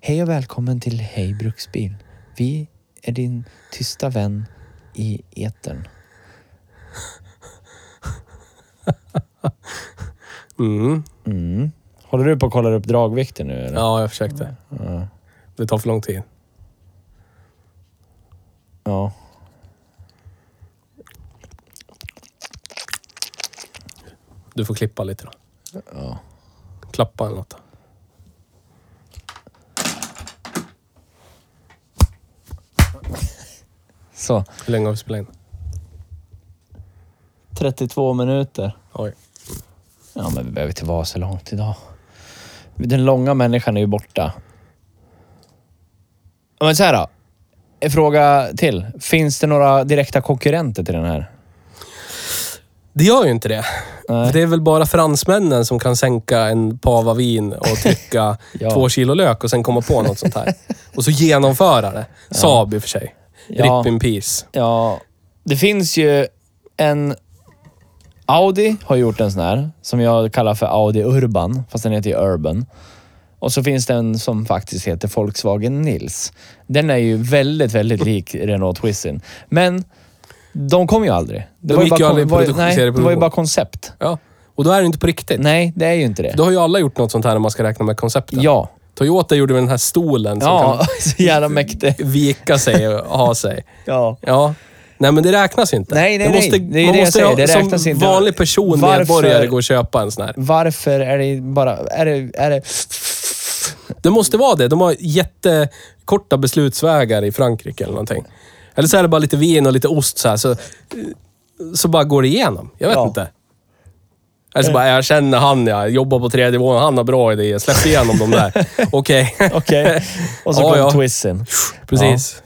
Hej och välkommen till Hej Bruksbil. Vi är din tysta vän i etern. Mm. Mm. Håller du på att kolla upp dragvikten nu eller? Ja, jag försökte. Det tar för lång tid. Ja. Du får klippa lite då. Ja. Klappa eller något. Så. Hur länge har vi spelat in? 32 minuter. Oj. Ja, men vi behöver inte vara så långt idag. Den långa människan är ju borta. Ja, Men så här då. En fråga till. Finns det några direkta konkurrenter till den här? Det gör ju inte det. Nej. Det är väl bara fransmännen som kan sänka en pava vin och trycka (laughs) Ja. två kilo lök och sen komma på något sånt här. Och så genomföra det. Saab i och för sig. Ja. Rip in peace. Ja, det finns ju en... Audi har gjort en sån här som jag kallar för Audi Urban, fast den heter ju Urban. Och så finns det en som faktiskt heter Volkswagen Nils. Den är ju väldigt, väldigt lik Renault Twizzin. Men de kom ju aldrig. Det De var ju, gick bara, ju aldrig i kon- var, produktion- nej, det var ju serieproduktion. bara koncept. Ja. Och då är det inte på riktigt. Nej, det är ju inte det. Då har ju alla gjort något sånt här när man ska räkna med konceptet. Ja. Toyota gjorde väl den här stolen som Ja, (laughs) så jävla mäktig. kan vika sig och ha sig. Ja. Ja. Nej, men det räknas ju inte. Nej, nej, Det måste, nej. Det är man det jag måste säger. ha- Det räknas som inte. vanlig person, Varför- medborgare, gå och köpa en sån här. Varför är det bara... Är det, är det Det måste vara det. De har jättekorta beslutsvägar i Frankrike eller någonting. Eller så är det bara lite vin och lite ost så här, så, så bara går det igenom. Jag vet Ja. inte. Eller så bara, jag känner han ja. Jobbar på tredje våningen. Han har bra idéer. Släpp igenom dem där. (laughs) Okej. Okej. (laughs) Och så Ja, kom ja. Twizzin. Precis.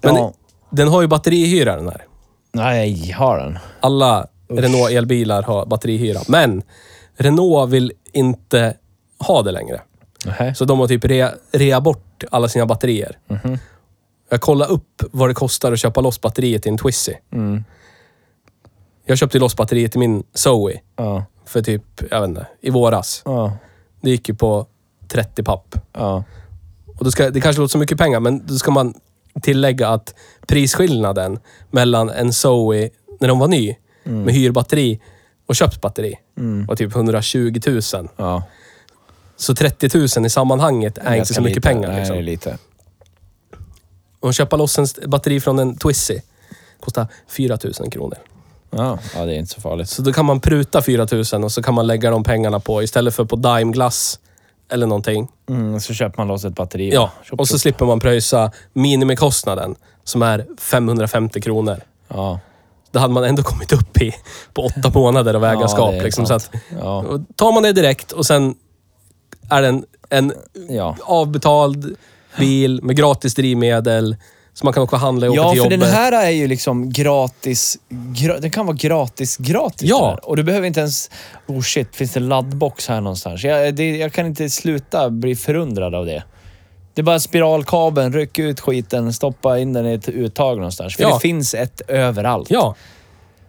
Men Ja. den har ju batterihyra den här. Nej, har den? Alla Renault elbilar har batterihyra. Men Renault vill inte ha det längre. Nähä. Så de har typ rea, rea bort alla sina batterier. Mhm. Jag kollade upp vad det kostar att köpa loss batteriet i en Twizy. Mm. Jag köpte loss batteriet i min Zoe Ja, för typ, jag vet inte, i våras. ja, Det gick ju på 30 papp. ja. Och då ska, det kanske låter så mycket pengar, men då ska man tillägga att prisskillnaden mellan en Zoe, när de var ny, Mm. med hyrbatteri och köpt batteri, var typ 120 000. ja. Så 30 000 i sammanhanget är inte så mycket pengar. Liksom. Nej, lite. Och köpa loss en st- batteri från en Twizy kostar 4 000 kronor. Ja. ja, det är inte så farligt. Så då kan man pruta 4 000 och så kan man lägga de pengarna på, istället för på Dime Glass eller någonting. Mm, så köper man loss ett batteri. Ja, Tjopp, och så tjopp. slipper man pröjsa minimikostnaden som är 550 kronor. Ja, Det hade man ändå kommit upp i på åtta månader av ägarskap. det är liksom, så sant. att, Ja. och tar man det direkt och sen är det en, en ja. avbetald bil med gratis drivmedel Så man kan åka och handla och åka Ja, till för jobbet. den här är ju liksom gratis. Gra den kan vara gratis, gratis. Ja. den här. Och du behöver inte ens... Oh shit, finns det laddbox här någonstans? Jag, det, jag kan inte sluta bli förundrad av det. Det är bara spiralkabeln, ryck ut skiten, stoppa in den i ett uttag någonstans. För Ja. det finns ett överallt. Ja,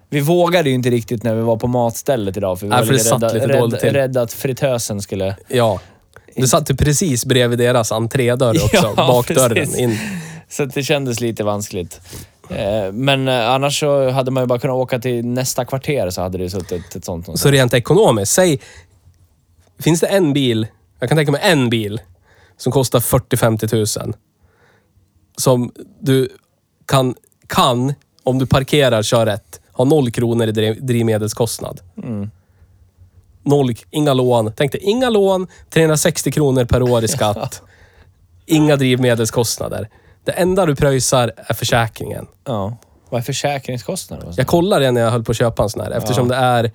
Vi vågade ju inte riktigt när vi var på matstället idag, för vi Nej, var för det lite, satt rädda, lite dåligt till. rädda, rädda att fritösen skulle... ja. Du satt ju precis bredvid deras entrédörr också. (laughs) Ja, bakdörren precis. in. Så att det kändes lite vanskligt. Eh, Men eh, annars så hade man ju bara kunnat åka till nästa kvarter så hade det ju suttit ett sånt någonstans. Så rent ekonomiskt, säg... Finns det en bil, jag kan tänka mig en bil, som kostar 40-50 000. Som du kan, kan, om du parkerar, kör rätt, ha noll kronor i driv, drivmedelskostnad. Mm. Noll, inga lån. Tänk dig, inga lån, 360 kronor per (laughs) år i skatt. Inga drivmedelskostnader. Det enda du pröjsar är försäkringen. Ja. Vad är försäkringskostnaden? Jag kollade det när jag höll på att köpa en sån här. Eftersom det är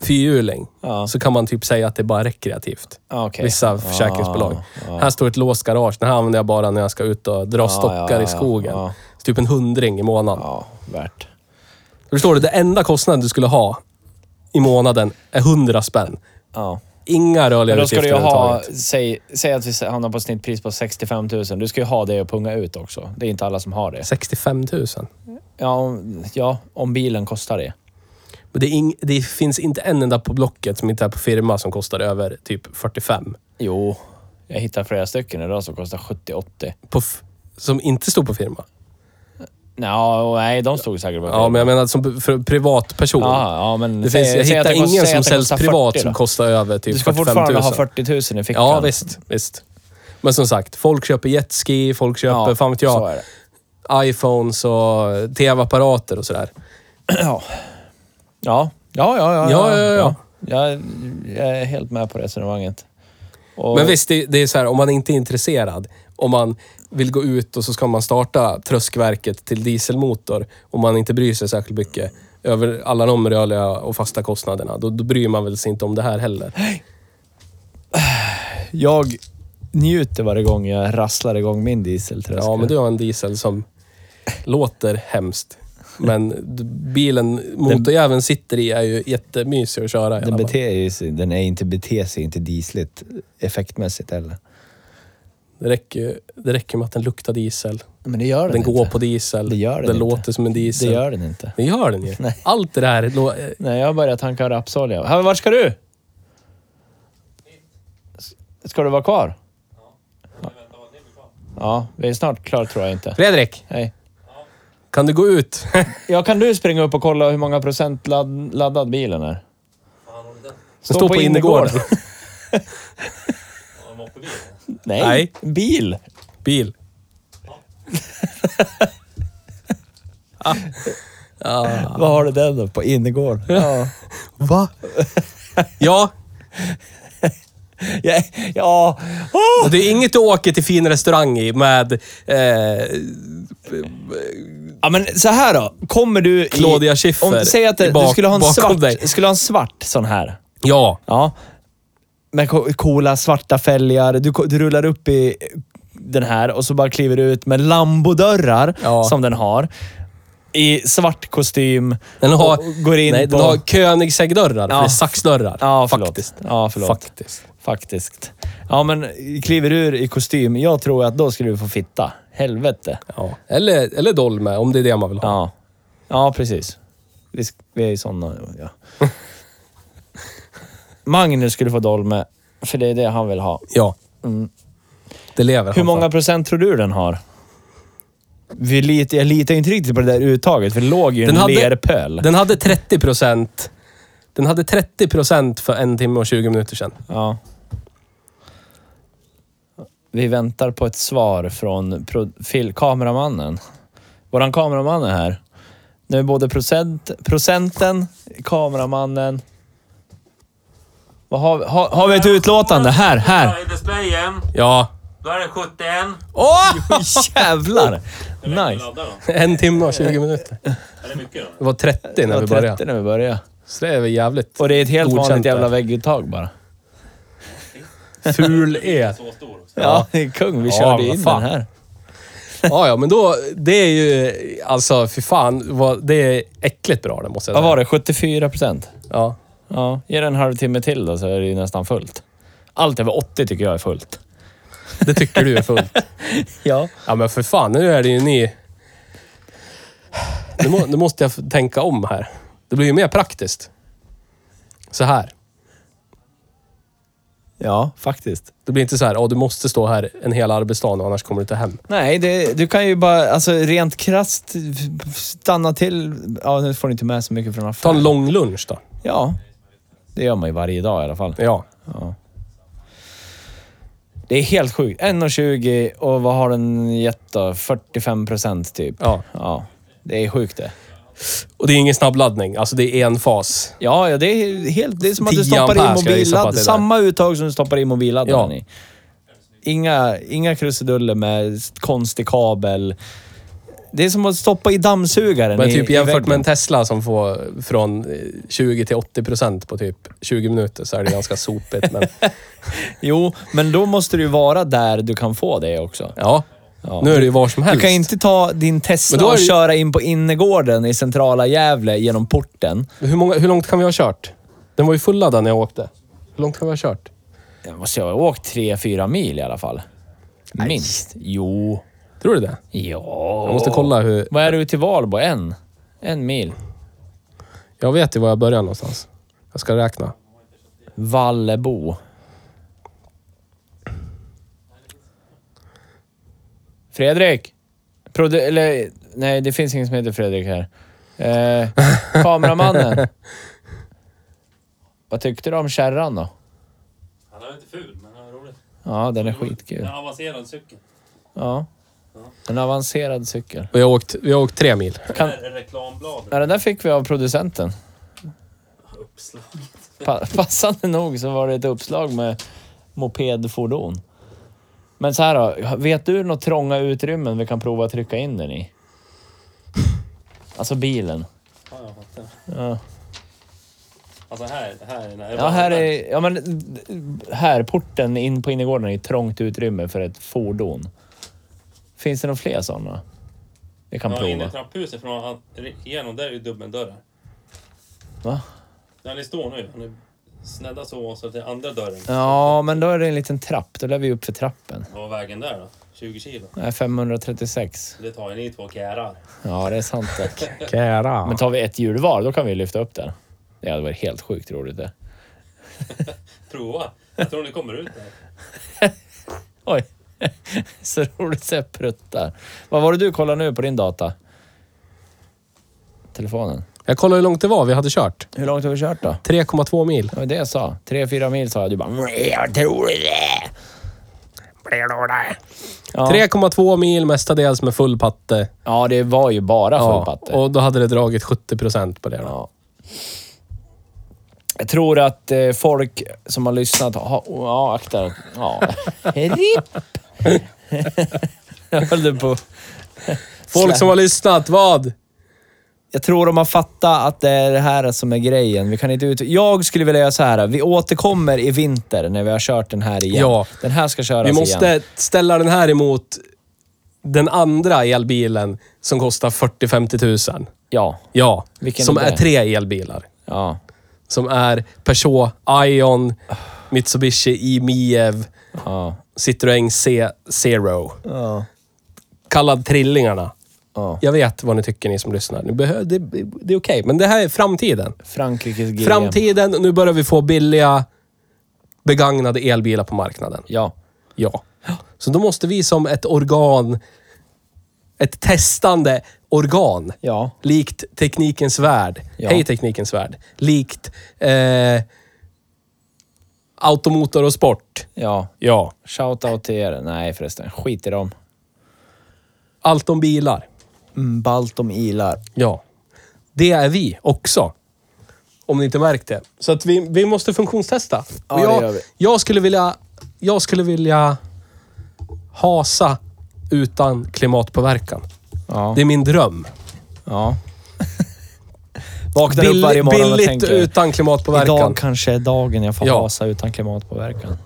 fyrhjuling Ja. så kan man typ säga att det är bara rekreativt. Ja, Ah, okej. Vissa försäkringsbolag. Här står ett låst garage. Den här använder jag bara när jag ska ut och dra stockar ja, i ja, skogen. ja. Så Typ en hundring i månaden. Ja, värt. Förstår du? Det enda kostnaden du skulle ha i månaden är hundra spänn. Ja. Inga rörliga Men då ska du utgifter ju ha, överhuvudtaget. säg, säg att vi hamnar på ett snittpris på 65 000. Du ska ju ha det att punga ut också. Det är inte alla som har det. 65 000. Ja, om, ja, om bilen kostar det. Men det, är ing, det finns inte en enda på Blocket som inte är på firma som kostar över typ 45. Jo, jag hittar flera stycken idag som kostar 70-80. På f, som inte står på firma. Ja, nej, de stod säkert på Ja, men jag menar som för privatperson. Ja, ja, men Det säg- finns, jag säg att hittar det kostar- ingen säg som att det säljs kostar 40 privat då. som kostar över typ Du ska 45 000. fortfarande ha 40 000 i fickan. Ja, visst. visst. Men som sagt, folk köper jetski, folk köper, fan vet så jag, är det. iPhones och tv-apparater och sådär. Ja. Ja. Ja, ja, ja. Ja, ja, ja. Jag, jag är helt med på resonemanget. Och, Men visst, det, det är så här, om man inte är intresserad, om man vill gå ut och så ska man starta tröskverket till dieselmotor, om man inte bryr sig särskilt mycket över alla de rörliga och fasta kostnaderna, då, då bryr man väl sig inte om det här heller. Jag njuter varje gång jag rasslar igång min dieseltröska. Ja, men du har en diesel som låter hemskt. Men d- bilen, motorjäveln sitter i är ju jättemysig att köra. i Den alla fall. beter ju sig, den är inte, beter sig inte diesligt effektmässigt heller. Det räcker, ju- det räcker med att den luktar diesel. Men det gör den, Den inte. går på diesel. Det gör den den inte. låter som en Det diesel. gör den inte. Den gör den ju. (laughs) Nej. Allt det där... lå- eh, Nej, jag har börjat tanka rapsolja. Ha, Vart ska du? S- Ska du vara kvar? Ja, vi är snart klara tror jag inte. Fredrik, Hej. kan du gå ut? (laughs) Ja, kan du springa upp och kolla hur många procent ladd, laddad bilen är? Den står på innergården. (laughs) Nej, Nej. bil. (laughs) Bil. Vad har du den då? På innergård? Ja. Va? Ja, ja. ja. Oh! och det är inget du åker till fin restaurang i med eh, ja, men så här då. Kommer du i... Claudia Schiffer Om, säg att det- i bak- du skulle ha, en bakom svart, dig. skulle ha en svart sån här. Ja. Ja. Med co- coola svarta fälgar. Du, ko- du rullar upp i den här och så bara kliver du ut med lambodörrar Ja. som den har. I svart kostym. Den har, och går in nej, på... den har Koenigsegg-dörrar. för Ja. Det är saxdörrar. Ja, förlåt. Faktiskt. Ja, förlåt. Faktiskt. Faktiskt. Ja, men kliver ur i kostym. Jag tror att då skulle du få fitta. Helvete. Ja. Eller, eller dolme, om det är det man vill ha. Ja. Ja, precis. Vi, sk- vi är ju sådana. (laughs) Ja. Magnus skulle få dolme, för det är det han vill ha. Ja. Det lever Hur han många för. procent tror du den har? Vi lit, jag litar inte riktigt på det där uttaget, för det låg ju i en Den hade- lerpöl. Den hade 30 procent. Den hade 30 procent för en timme och 20 minuter sedan. Ja. Vi väntar på ett svar från pro, fil, kameramannen. Våran kameraman är här. Nu är både procent, procenten, kameramannen... Vad har, vi- har, har vi ett utlåtande? Här, här! I displayen, Ja. då är det 71. Åh, jävlar! Nice. Ladda då. En timme och 20 minuter. Är det mycket då? Det var Det 30 när var vi 30 började. när vi började. Så det är väl jävligt Och det är ett helt Godkänt vanligt jävla där. vägguttag bara. ful el. Så stor också. Ja, det är kung. Vi Ja, körde vad in fan. den här. Ja, ja, men då... Det är ju... Alltså, fy fan. Vad, det är äckligt bra det måste jag Vad säga. var det? 74 procent? Ja. Ja, ge det en halvtimme till då så är det ju nästan fullt. Allt över 80 tycker jag är fullt. Det tycker du är fullt. Ja. Ja, men för fan. Nu är det ju ni... Nu, må, nu måste jag f- tänka om här. Det blir ju mer praktiskt. Så här. Ja, faktiskt. Det blir inte så här, "Åh, du måste stå här en hel arbetsdag nu, annars kommer du inte hem. Nej, det, du kan ju bara, alltså rent krasst stanna till. Ja, nu får du inte med så mycket från Ta en affären. lång lunch då. Ja, det gör man ju varje dag i alla fall. Ja. Det är helt sjukt. 1,20 och vad har den gett då? 45 procent typ. ja. Ja, det är sjukt det. Och det är ingen snabbladdning. Alltså, det är en fas. Ja, ja det är helt... Det är som att du 10 stoppar in ampere ska jag gissa på att mobilladd. det är. Samma uttag som du stoppar in mobilladdaren Ja. i. Inga, inga krusiduller med konstig kabel. Det är som att stoppa i dammsugaren Men i- typ i jämfört väggen. med en Tesla som får från eh, 20 till 80 procent på typ 20 minuter så är det ganska (laughs) sopigt. Men Jo, men då måste du ju vara där du kan få det också. ja, nu är det ju var som helst. Du kan inte ta din Men då Tesla är och det- köra in på innergården i centrala Gävle genom porten. hur, många, hur långt kan vi ha kört? Den var ju fulladdad när jag åkte. Hur långt kan vi ha kört? Jag måste ju ha åkt tre fyra mil i alla fall. Minst. Jo. Tror du det? Ja. Jag måste kolla hur... Vad är du till Valbo? En? En mil? Jag vet ju var jag börjar någonstans. Jag ska räkna. Vallebo. Fredrik! Produ eller, nej, det finns ingen som heter Fredrik här. Eh, kameramannen. Vad tyckte du om kärran då? Han är inte ful, men han är rolig. Ja, den är skitkul. En avancerad cykel. Ja. En avancerad cykel. Och jag har åkt, vi har åkt tre mil. Det här är reklambladet. Ja, den där fick vi av producenten. Uppslag. Pa passande nog så var det ett uppslag med mopedfordon. Men så här då, vet du något trånga utrymmen vi kan prova att trycka in den i? Alltså bilen. Ja, jag fattar. Ja, Alltså här, här är... ja här är... Ja, men här, porten in på innergården är ett trångt utrymme för ett fordon. Finns det några fler sådana? Vi kan Ja, inne i prova. trapphuset från han, igenom där är ju dubbeldörrar. Va? Där ni står nu. Han är snedda så, så till andra dörren. Ja, men då är det en liten trapp. Då lär vi upp för trappen. Vad var vägen där då? 20 kilo? Nej, 536. Det tar ju ni två kärar. Ja, det är sant tack. Kära. Men tar vi ett hjul var, då kan vi lyfta upp den. Det hade varit helt sjukt roligt det. Prova! Jag tror ni kommer ut där. (laughs) Oj! (laughs) Så roligt så jag pruttar. Vad var det du kollade nu på din data? Telefonen. Jag kollade hur långt det var vi hade kört. Hur långt har vi kört då? 3,2 mil. Det var det jag sa. Tre fyra mil sa jag. Du bara "Nej, jag tror det. Ja. 3,2 mil mestadels med full patte. ja, det var ju bara full Ja, patte. och då hade det dragit 70 procent på det. Då. Ja. Jag tror att eh, folk som har lyssnat har... Ja, akta. Ja. (laughs) RIP! (laughs) Jag höll det på. Folk som har lyssnat, vad? Jag tror de har fattat att det är det här som är grejen. Vi kan inte ut... Jag skulle vilja göra så här. Vi återkommer i vinter när vi har kört den här igen. Ja. Den här ska köras Vi måste igen. ställa den här emot den andra elbilen som kostar 40-50 000. Ja. Ja, Vilken som är är det? tre elbilar. Ja. Som är Peugeot, Ion, Mitsubishi i-Miev, Ja. Citroën C0. Ja. Kallad Trillingarna. ja. Jag vet vad ni tycker ni som lyssnar. Ni behö- det, det är okej, men det här är framtiden. Frankrikes GM. Framtiden, nu börjar vi få billiga begagnade elbilar på marknaden. Ja. Ja. Så då måste vi som ett organ, ett testande organ, Ja. likt Teknikens Värld, Ja. Hej Teknikens Värld, likt eh, Automotor och Sport. Ja. Ja. Shoutout till er. Nej förresten, skit i dem. Allt om bilar. Mm, Baltom ilar. Ja. Det är vi också. Om ni inte märkt det. Så att vi, vi måste funktionstesta. Ja, Och det jag, gör vi. jag skulle vilja... Jag skulle vilja hasa utan klimatpåverkan. Ja. Det är min dröm. Ja. Vaknar upp Bill- varje morgon och billigt tänker... utan klimatpåverkan. Idag kanske är dagen jag får Ja. hasa utan klimatpåverkan.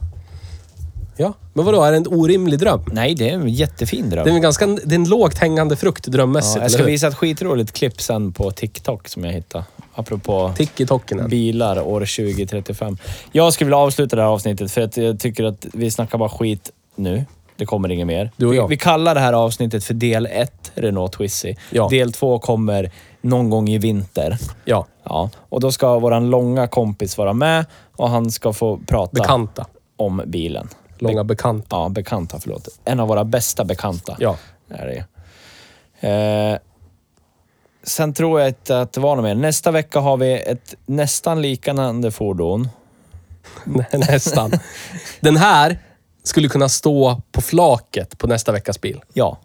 Ja. Men vadå, är det en orimlig dröm? Nej, det är en jättefin dröm. Det är en, ganska, det är en lågt hängande frukt drömmässigt, ja, jag ska eller hur? visa ett skitroligt klipp sen på TikTok som jag hittade. Apropå Tiki-tockinen. bilar år 2035. Jag skulle vilja avsluta det här avsnittet för att jag tycker att vi snackar bara skit nu. Det kommer inget mer. Du och jag. Vi, vi kallar det här avsnittet för del 1, Renault Twizy. Ja. Del 2 kommer någon gång i vinter. Ja, Ja, och då ska våran långa kompis vara med och han ska få prata bekanta. om bilen. Långa bekanta. Ja, bekanta, förlåt. En av våra bästa bekanta. Ja. (laughs) Är det. ju. Eh, sen tror jag inte att det var något mer. Nästa vecka har vi ett nästan liknande fordon. Nej, Nästan. Den här skulle kunna stå på flaket på nästa veckas bil. Ja.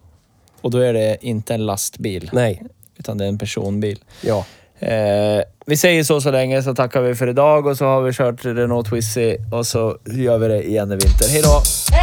Och då är det inte en lastbil, Nej. utan det är en personbil. Ja. Eh, vi säger så så länge, så tackar vi för idag och så har vi kört Renault Twizy och så gör vi det igen i vinter. Hej då! Hey!